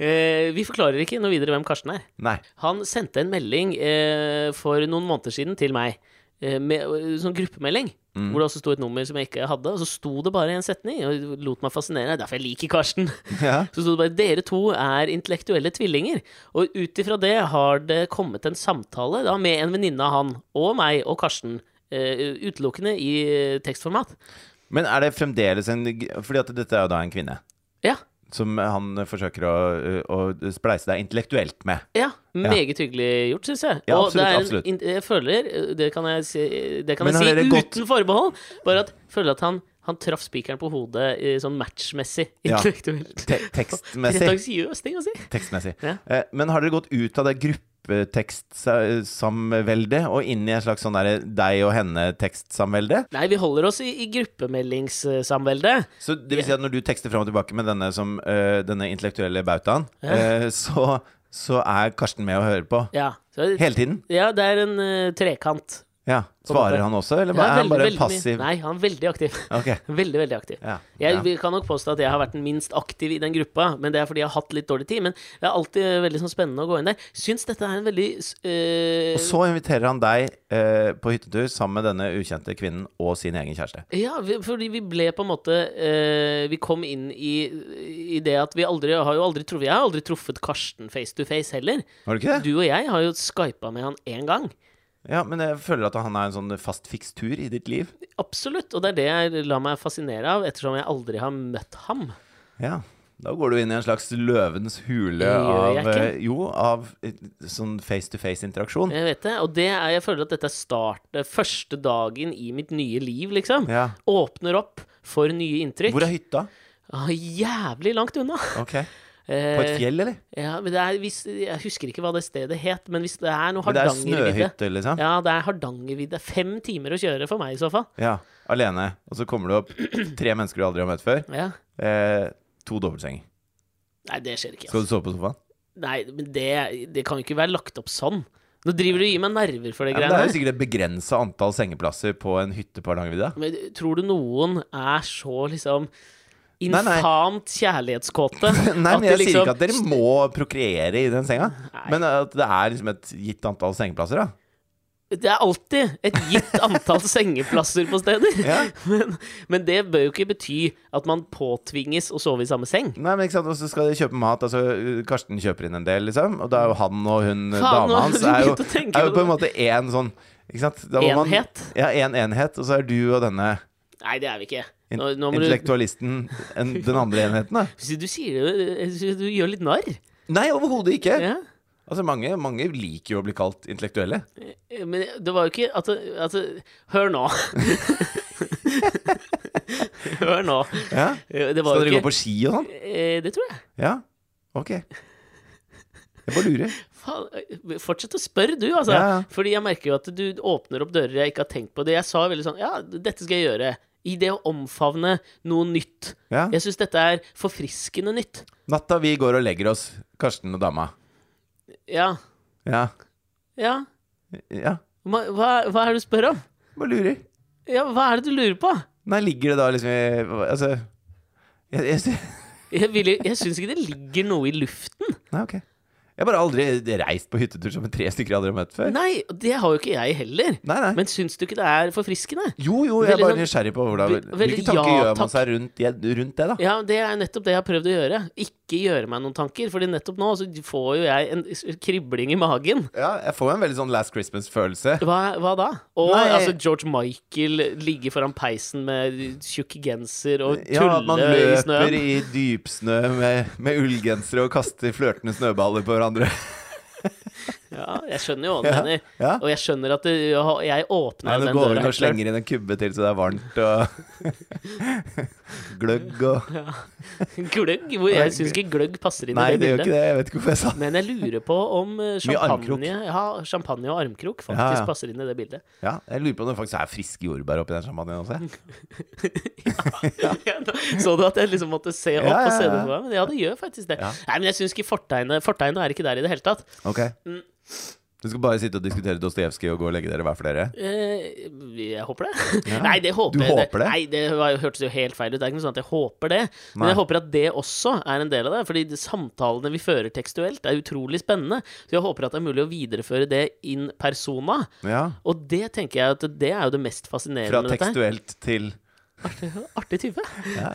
Eh, vi forklarer ikke noe videre hvem Karsten er.
Nei.
*laughs* Han sendte en melding eh, for noen måneder siden til meg. Eh, med, sånn gruppemelding, hvor det også sto et nummer som jeg ikke hadde. Og så sto det bare i en setning, og det lot meg fascinere. Derfor jeg liker Karsten. *laughs*
Ja.
Så sto det bare 'Dere to er intellektuelle tvillinger'. Og ut ifra det har det kommet en samtale da, med en venninne av han, og meg og Karsten. eh, utelukkende i eh, tekstformat.
Men er det fremdeles en Fordi at dette er jo da en kvinne.
Ja.
Som han forsøker å, å spleise deg intellektuelt med.
Ja, meget hyggelig gjort, syns jeg.
Ja,
Og det er en,
absolutt, absolutt.
in- Jeg føler, det kan jeg si, det kan
Men
jeg
har
si
dere
uten
gått-
forbehold, bare at jeg føler at han, han traff spikeren på hodet eh, sånn matchmessig, *laughs*
Ja.
intellektuelt.
Te tekstmessig.
Redaksiøst ting å si.
tekstmessig.
Ja.
Eh, men har dere gått ut av det gruppetekstsamveldet og inn i en slags sånn derre deg og henne-tekstsamvelde?
Nei, vi holder oss i, i gruppemeldingssamveldet.
Så det vil si at når du tekster fram og tilbake med denne, som, eh, denne intellektuelle bautaen, eh, så, så er Karsten med og hører på?
Ja. Så,
Hele tiden?
ja, det er en eh, trekant.
Ja.
På en måte.
Svarer han også, eller
Ja,
er han
veldig,
bare
veldig mye-
passiv?
Nei, han er veldig aktiv. *laughs*
Ok.
Veldig, veldig aktiv.
Ja,
jeg
ja.
vi kan nok påstå at jeg har vært den minst aktiv i den gruppa, men det er fordi jeg har hatt litt dårlig tid. Men det er alltid veldig sånn spennende å gå inn der. Syns dette er en veldig eh,
Og så inviterer han deg eh, på hyttetur sammen med denne ukjente kvinnen og sin egen kjæreste.
Ja, vi, fordi vi ble på en måte eh, Vi kom inn i, i det at vi aldri har jo aldri truffet Jeg har aldri truffet Karsten face to face heller.
Var det ikke det?
Du og jeg har jo skypa med han én gang.
Ja, men jeg føler at han er en sånn fast fikstur i ditt liv.
Absolutt. Og det er det jeg lar meg fascinere av, ettersom jeg aldri har møtt ham.
Ja. Da går du inn i en slags løvens hule
Gjør
av
jeg
eh, Jo, av eh, sånn face to face-interaksjon.
Jeg vet det, og det er, jeg føler at dette er start, det første dagen i mitt nye liv, liksom.
Ja.
Åpner opp for nye inntrykk.
Hvor er hytta?
Ah, jævlig langt unna.
Ok.
Eh,
På et fjell, eller?
Ja, men det er, hvis, jeg husker ikke hva det stedet het, men hvis det er noe
Men det er
Hardangervidde
snøhytte, liksom?
Ja, det er Hardangervidde. Fem timer å kjøre for meg i så fall.
Ja. Alene. Og så kommer du opp tre mennesker du aldri har møtt før.
Ja.
Eh, to dobbeltsenger.
Nei, det skjer ikke. altså.
Skal du sove på sofaen?
Nei, men det, det kan jo ikke være lagt opp sånn. Nå driver du og gir meg nerver for det
Ja, men det
greiene
er jo
her.
sikkert et begrensa antall sengeplasser på en hytte på Hardangervidda.
Men tror du noen er så liksom
nei.
infamt kjærlighetskåte?
*laughs* Nei,
at
men
de
jeg sier
liksom-
ikke at dere må prokreere i den senga.
Nei.
Men at det er liksom et gitt antall sengeplasser, da.
Det er alltid et
*laughs*
gitt antall sengeplasser på steder.
Ja.
Men, men det bør jo ikke bety at man påtvinges å sove i samme seng.
Nei, men ikke sant, Og så skal de kjøpe mat. Altså, uh, Karsten kjøper inn en del, liksom. Og da er jo han og hun
Faen, nå
dama
har
hans
du
er jo,
begynt å tenke
er jo
på
på en måte én sånn ikke sant? Da må man-
Enhet?
ja, én en enhet. Og så er du og denne
Nei, det er vi ikke.
in
Nå, nå må du,
intellektualisten en, den andre enheten, da.
du sier det jo jeg synes Du gjør litt narr.
Nei, overhodet ikke!
Ja.
Altså, mange, mange liker jo å bli kalt
*laughs*
intellektuelle.
Eh, Men det var jo ikke at, at Hør
*laughs*
nå. *laughs* Hør nå. Eh,
Ja.
Det var
Skal dere
jo
gå
ikke
på ski og sånn?
Eh, Det tror jeg.
Ja? Ok. Jeg bare lurer.
Faen, eh, fortsett å spørre, du, altså.
Ja, ja.
Fordi jeg merker jo at du åpner opp dører jeg ikke har tenkt på. Det jeg sa veldig sånn Ja, dette skal jeg gjøre. I det å omfavne noe nytt.
Ja.
Jeg syns dette er forfriskende nytt.
Natta vi går og legger oss, Karsten og dama.
Ja.
Ja.
Ja.
ja.
Hva, hva- hva er det du spør om?
Bare lurer.
Ja, hva er det du lurer på?
Nei, ligger det da liksom i Altså jeg, jeg, sy-
Jeg, vil, jo- jeg syns ikke det ligger noe i luften.
Nei, ok. Jeg har bare aldri reist på hyttetur som tre stykker jeg aldri har møtt før.
Nei, det har jo ikke jeg heller.
Nei, nei.
Men syns du ikke det er forfriskende?
jo, jo, jeg er
Veldig
bare
sånn-
nysgjerrig på hvordan
Ve- veldig
Hvilke tanker
ja,
gjør man
takk.
seg rundt, det- rundt det, da?
Ja, det er nettopp det jeg har prøvd å gjøre. Ikke gjøre meg noen tanker. Fordi nettopp nå så får jo jeg en s- kribling i magen.
Ja, jeg får jo en veldig sånn Last Christmas-følelse.
Hva, hva da? Og
Nei.
altså George Michael ligge foran peisen med tjukk genser og
Ja, at man
tulle i
løper
snøen.
i dypsnø med, med ullgensere og kaster flørtende snøballer på hverandre.
Ja, jeg skjønner jo hva du mener.
Ja.
Og jeg skjønner at det, jeg åpna
Nei,
den
du
døra.
går inn og
helt klart.
slenger inn en kubbe til så det er varmt, og *laughs* Gløgg og
*laughs* Gløgg? Hvor jeg syns ikke gløgg passer inn
Nei,
i
det
det
gjør
bildet.
ikke det. Jeg vet ikke hvorfor jeg sa det.
Men jeg lurer på om eh,
*laughs* armkrok.
champagne, ja, champagne og armkrok faktisk
Ja, ja.
passer inn i det
*laughs*
bildet.
Ja, jeg lurer på om det faktisk er friske jordbær oppi den champagnen også. jeg.
Så du at jeg liksom måtte se opp
Ja, ja,
og se det
ja.
for meg? Men ja, det gjør faktisk det.
Ja.
Nei, men jeg syns ikke fortegnet Fortegnet er ikke der i det hele tatt.
Ok
Mm.
Du skal bare sitte og diskutere Dostojevskij og gå og legge dere hver for dere?
Eh, jeg håper
*laughs*
det. Nei, det håper
Du
jeg
håper det?
Nei, det var, hørtes jo helt feil ut. Det er ikke noe sånn at jeg håper det. Men
Nei.
jeg håper at det også er en del av det. Fordi de samtalene vi fører tekstuelt, er utrolig spennende. Så jeg håper at det er mulig å videreføre det in persona.
Ja.
Og det tenker jeg at det er jo det mest fascinerende
Fra
med dette. her.
tekstuelt til
*laughs* Artig type. Ja.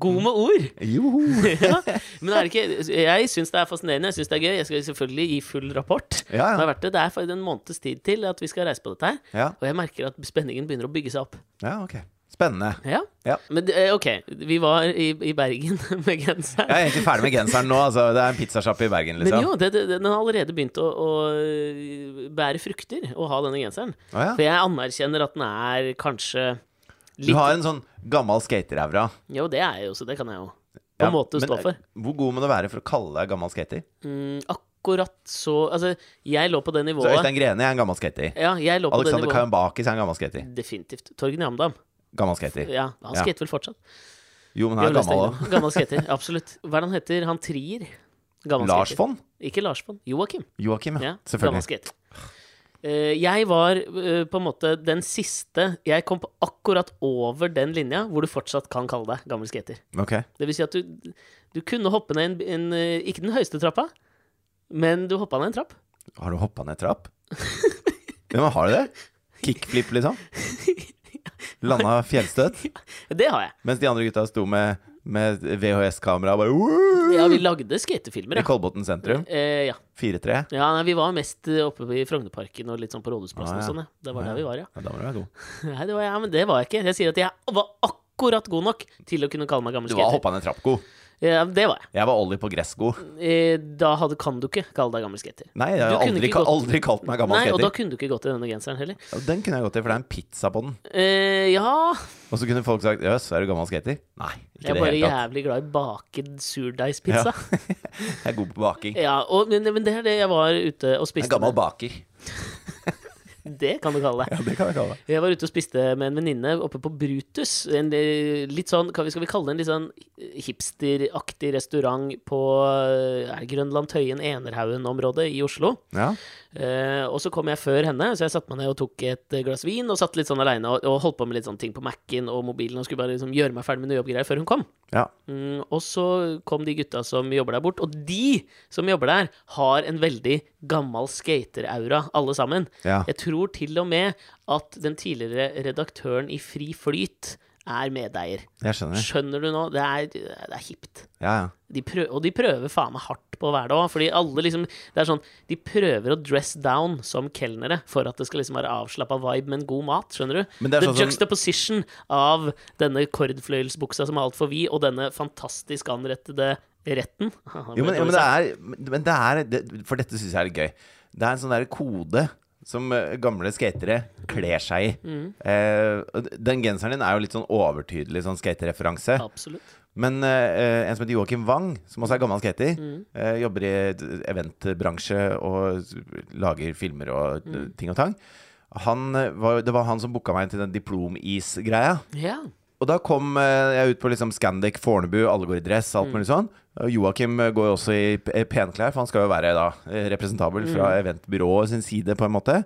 God med ord. *laughs*
Joho!
ja. Men er det ikke, jeg syns det er fascinerende, jeg syns det er gøy. Jeg skal selvfølgelig gi full rapport.
Ja,
Det
ja.
*laughs* har vært det. Det er faktisk en måneds tid til at vi skal reise på dette her.
ja.
Og jeg merker at spenningen begynner å bygge seg opp.
ja ok. Spennende.
Ja.
Ja.
Men det- eh, ok, vi var i, i Bergen *laughs* med genseren.
Jeg er egentlig ferdig med genseren nå. Altså, det er en pizzasjappe i Bergen,
Men
liksom.
jo, det, det, den har allerede begynt å, å øh, bære frukter, å ha denne genseren.
Å, ja.
For jeg anerkjenner at den er kanskje
Du
litt
har en sånn gammel skaterævra.
Jo, det er jeg jo, så det kan jeg jo på
Ja,
en måte
men eh,
stå for.
Hvor god må du være for å kalle deg gammel skater?
Mm, akkurat så Altså, jeg lå på det
Så
nivået.
Øystein Grene er en gammel skater.
Ja, jeg lå på det
Alexander
nivået.
Kayambakis er en gammel skater.
Definitivt. Torgen Jamdam.
Gammel skater.
Ja, han
Ja.
skater vel fortsatt.
Jo, men han er
Jørgen
gammel
Øystein,
òg.
Gammel skater. Absolutt. Hva er det han heter? Han Trier? Gammel
Lars
skater.
von
Ikke Lars von. Joakim.
Joakim, ja.
Ja, gammel
Selvfølgelig.
skater. Eh, jeg var eh, på en måte den siste Jeg kom på akkurat over den linja hvor du fortsatt kan kalle deg gammel skater.
Ok.
Det vil si at du, du kunne hoppe ned en, en eh, Ikke den høyeste trappa, men du hoppa ned en trapp. *laughs*
Har du hoppa ned trapp? ja, men har du det? Kickflip, liksom? Landa fjellstøt?
Det har jeg.
Mens de andre gutta sto med, med VHS-kamera og bare «Woo!»
Ja, vi lagde skatefilmer,
I
ja.
Kolbotn sentrum.
Eh, ja.
4-3.
ja nei, vi var mest eh, oppe i Frognerparken og litt sånn på Rådhusplassen
Ah, ja.
og sånn. ja. Det var
Ah,
der vi var, ja.
Ja, da må du være god.
Nei, det var, ja, men det var jeg ikke. Jeg sier at jeg var akkurat god nok til å kunne kalle meg gammel
Du var
skater.
hoppa ned trapp god.
Ja, det var jeg.
Jeg var Ollie på gressko.
Eh, Da hadde, kan du ikke kalle deg gammel skater.
Nei, jeg
Du
har
kunne
aldri,
ikke gått-
aldri kalt meg gammel
Nei, og da
skater.
kunne du ikke gått i denne genseren heller.
Den kunne jeg gått i, for det er en pizza på den.
Eh, ja
Og så kunne folk sagt jøss, er du gammel skater? Nei,
Jeg
ikke
er
det
bare
hele tatt.
jævlig glad i baked surdeigspizza. *laughs* Ja.
Jeg er god på baking.
og, men, men det er det jeg var ute og
Jeg er
spiste
gammel
med.
baker.
Det kan du kalle det.
Ja, det kan jeg kalle det.
Jeg var ute og spiste med en venninne oppe på Brutus. En eh, litt sånn, hva skal vi kalle det, en litt sånn hipsteraktig restaurant på eh, er det Grønland, Tøyen, Enerhaugen-området i Oslo.
Ja.
Eh, og så kom jeg før henne, så jeg satte meg ned og tok et eh, glass vin og satt litt sånn aleine og, og holdt på med litt sånne ting på Mac-en og mobilen og skulle bare liksom gjøre meg ferdig med noe jobbgreier før hun kom.
ja.
Mm, og så kom de gutta som jobber der bort, og de som jobber der, har en veldig gammel skateraura, alle sammen.
Ja.
Jeg tror til og med at den tidligere redaktøren i Fri Flyt er medeier.
Jeg skjønner.
Skjønner du nå? Det er, det er hipt.
Ja, ja.
De prø- og de prøver faen meg hardt på å være det òg. Fordi alle liksom Det er sånn De prøver å dress down som kelnere for at det skal liksom være avslappa vibe med en god mat, skjønner du?
Men det er
The
sånn som-
juxtaposition av denne kordfløyelsbuksa som er altfor vid, og denne fantastisk anrettede retten. *laughs*
Jo, men, jo, men det er, men det er det, For dette syns jeg er litt gøy. Det er en sånn der kode som eh, gamle skatere kler seg i. Eh, og d- den genseren din er jo litt sånn overtydelig sånn skatereferanse.
Absolutt.
Men eh, en som heter Joakim Wang, som også er gammel skater, eh, jobber i d- eventbransje og s- lager filmer og d- ting og tang. Han, eh, var, det var han som booka meg til den diplomis-greia.
Ja.
Og da kom eh, jeg ut på liksom Scandic, Fornebu, alle går i dress,
Mm.
alt mulig sånn. Og Joakim eh, går jo også i p- eh, penklær, for han skal jo være da eh, representabel fra
Mm.
eventbyrået sin side, på en måte.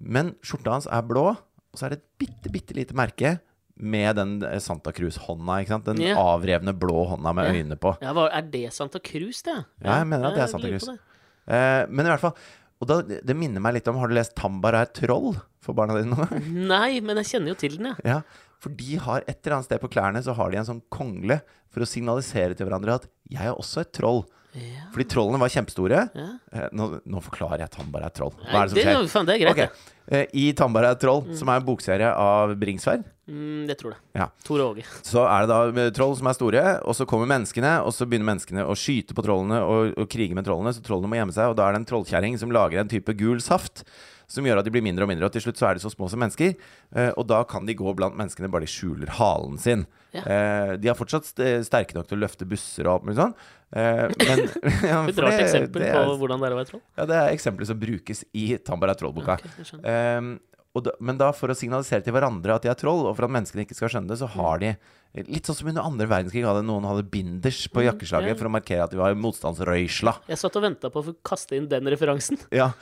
Men skjorta hans er blå, og så er det et bitte, bitte lite merke med den eh, Santa Cruz-hånda, ikke sant? Den
Ja.
avrevne blå hånda med
Ja.
øynene på.
ja hva, er det Santa Cruz, det?
Ja, jeg mener at det er
jeg
Santa
lurer
Cruz.
på det.
Eh, men i hvert fall, og da, det minner meg litt om, har du lest Tambar er et troll for barna dine
*laughs*
nå?
Nei, men jeg kjenner jo til den, jeg.
Ja, for de har et eller annet sted på klærne Så har de en sånn kongle For å signalisere til hverandre at Jeg er også et troll
Ja.
Fordi trollene var kjempestore
Ja.
Eh, Nå, nå forklarer jeg at han bare er troll
Nei,
Hva er det
det,
som skjer?
faen, det er greit, Mm.
Ok, eh, I Tambara er et troll Som er en bokserie av Bringsvær
det. Mm, jeg tror det.
Ja.
Tor
*laughs*
Åge.
Så er det da eh, troll som er store Og så kommer menneskene Og så begynner menneskene å skyte på trollene Og, og krige med trollene Så trollene må gjemme seg Og da er det en trollkjæring Som lager en type gul saft som gjør at de blir mindre og mindre, og til slutt så er de så små som mennesker. eh, Og da kan de gå blant menneskene bare de skjuler halen sin.
Ja.
Eh, De er fortsatt st- sterke nok til å løfte busser og alt mulig sånn.
*laughs*
eh, Men *laughs* ja,
Et
for
rart
det-
eksempel
det
på
er,
hvordan det er å være troll.
Ja, det er eksempler som brukes i Tambara Troll-boka.
Ok, jeg skjønner.
Ehm, og da, men da for å signalisere til hverandre at de er troll, og for at menneskene ikke skal skjønne det, så har de Litt sånn som under andre verdenskrig hadde noen hadde binders på jakkeslaget
Mm, ja.
for å markere at de var motstandsrøysla.
Jeg satt og venta på å få kaste inn den referansen.
Ja.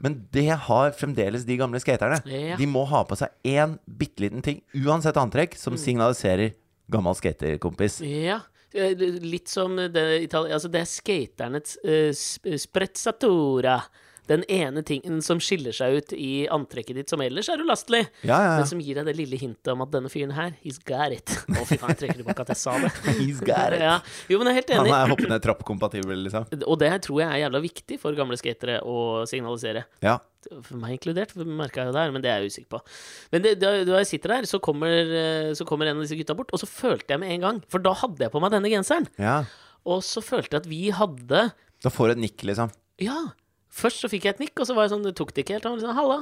Men det har fremdeles de gamle skaterne.
Ja.
De må ha på seg én bitte liten ting, uansett antrekk, som signaliserer gammel skaterkompis.
Mm. Ja. eh, Litt som det, Italia, altså det er skaternes eh, sp- sprezzatura. Den ene tingen som skiller seg ut i antrekket ditt, som ellers er ulastelig,
Ja, ja,
men
ja.
som gir deg det lille hintet om at denne fyren her, he's got it. Å, fy faen, jeg trekker tilbake at jeg sa det.
*laughs* *laughs* He's got it.
Ja. Jo, men jeg er helt
Han
enig.
er hoppende trappkompatibel, liksom.
Og det her tror jeg er jævla viktig for gamle skatere å signalisere.
Ja.
for meg inkludert, for merka jeg jo der, men det er jeg usikker på. Men det, da, da jeg sitter der, så kommer, eh, så kommer en av disse gutta bort, og så følte jeg med en gang, for da hadde jeg på meg denne genseren,
ja.
og så følte jeg at vi hadde
Da får du et nikk, liksom.
Ja! Først så fikk jeg et nikk, og så var jeg sånn, det tok det ikke helt, han var sånn, halla.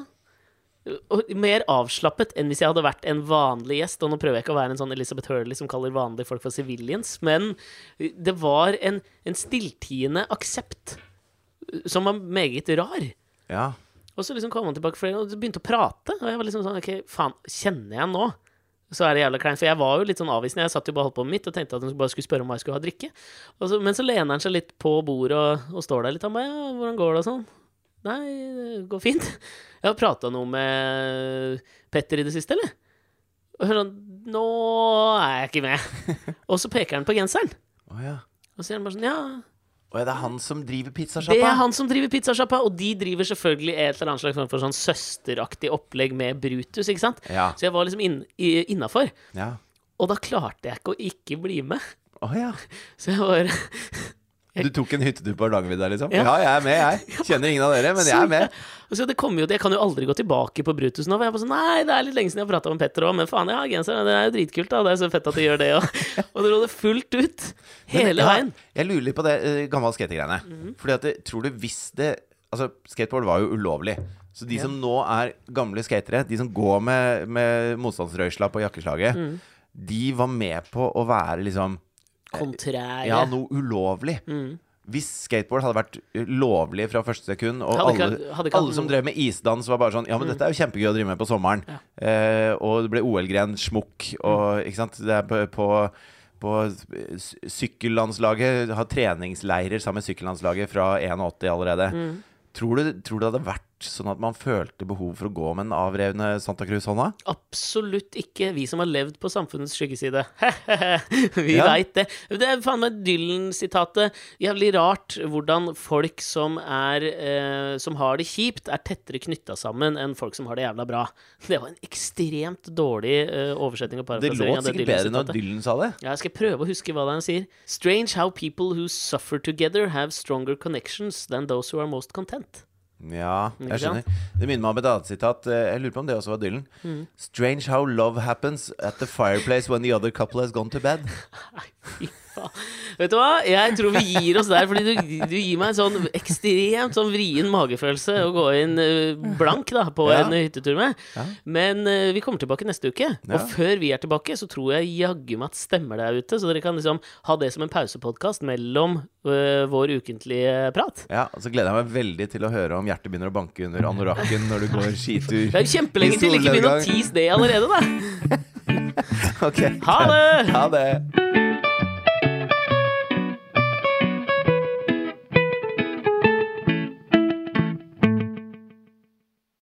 Og mer avslappet enn hvis jeg hadde vært en vanlig gjest. Og nå prøver jeg ikke å være en sånn Elizabeth Hurley som kaller vanlige folk for civilians, men det var en, en stilltiende aksept eh, som var meget rar.
Ja.
Og så liksom kom han tilbake flere ganger og begynte å prate. Og jeg var liksom sånn, ok, faen, kjenner jeg nå? Så er det jævla kleint. For jeg var jo litt sånn avvisende. Jeg satt jo bare og holdt på med mitt og tenkte at hun bare skulle spørre om hva jeg skulle ha å drikke. Og så, men så lener han seg litt på bordet og, og står der litt. Han bare ja, hvordan går det og sånn? Nei, det går fint. Jeg har prata noe med Petter i det siste, eller? Og hører han Nå er jeg ikke med. Og så peker han på genseren.
Å ja.
Og så sier han bare sånn Ja,
Å, ja, det er han som
det
driver
er
pizzasjappa?
han som driver pizzasjappa, og de driver selvfølgelig et eller annet slags form for sånn søsteraktig opplegg med Brutus, ikke sant?
Ja.
Så jeg var liksom inn- i- innafor,
Ja.
og da klarte jeg ikke å ikke bli med.
Å ja.
Så jeg var
Du tok en hyttetur på Hardangervidda, liksom?
*laughs* Ja.
Ja, jeg er med, jeg. Kjenner ingen av dere, men jeg er med.
*laughs* Altså, det kommer jo, jeg kan jo aldri gå tilbake på Brutus nå. For jeg er bare sånn, Nei, det er litt lenge siden jeg har prata med Petter òg, men faen, jeg har genser. Det er jo dritkult, da. Det er så fett at de gjør det òg. *laughs* Og det råder fullt ut. Hele
Men, ja,
veien. Mhm.
Jeg lurer litt på det eh, gamle skategreiene. Fordi at jeg tror du hvis det Altså, skateboard var jo ulovlig. Så de som nå er gamle skatere, de som går med, med motstandsrøysla på jakkeslaget,
Mhm.
de var med på å være liksom
Kontrære.
Ja, noe ulovlig.
Mm.
Hvis skateboard hadde vært eh, lovlig fra første sekund, og
Hadde ikke-
alle,
hadde ikke hatt Mm.
alle som drev med isdans, var bare sånn Ja, men dette er jo kjempegøy å drive med på sommeren. Eh, og det ble OL-gren, smokk
Mm.
og Ikke sant. Det er på, på på s- sykkellandslaget har treningsleirer sammen med sykkellandslaget fra 81 allerede.
Mm.
Tror, du, tror du det hadde vært sånn at man følte behov for å gå med den avrevne Santa Cruz-hånda?
Absolutt ikke vi som har levd på samfunnets skyggeside. *laughs* vi
Ja.
veit det. Det er faen meg Dylan-sitatet. Jævlig rart hvordan folk som er eh, Som har det kjipt, er tettere knytta sammen enn folk som har det jævla bra. Det var en ekstremt dårlig eh, oversetning og
Det
parafrasering
låt
av det
sikkert bedre når
Dylan-sitatet.
Dylan sa det.
Ja, jeg skal prøve å huske hva det er han sier. Strange how people who suffer together have stronger connections than those who are most content.
Ja,
Ikke
jeg
sant? Mm.
skjønner. Det minner meg om et annet sitat. eh, Jeg lurer på om det også var Dylan. Strange how love happens at the fireplace when the other couple has gone to bed.
Nei, fy faen. Vet du hva? Jeg tror vi gir oss der, fordi du, du gir meg en sånn ekstremt sånn vrien magefølelse å gå inn eh, blank da, på
Ja.
en hyttetur med.
Ja.
Men eh, vi kommer tilbake neste uke,
Ja.
og før vi er tilbake, så tror jeg jaggu meg at stemmer der ute, så dere kan liksom ha det som en pausepodkast mellom eh, vår ukentlige prat.
Ja, og Så gleder jeg meg veldig til å høre om hjertet begynner å banke under anorakken når du går skitur.
Det er jo kjempelenge til ikke begynner å tease det allerede, da.
Ok.
Ha det!
Ha det.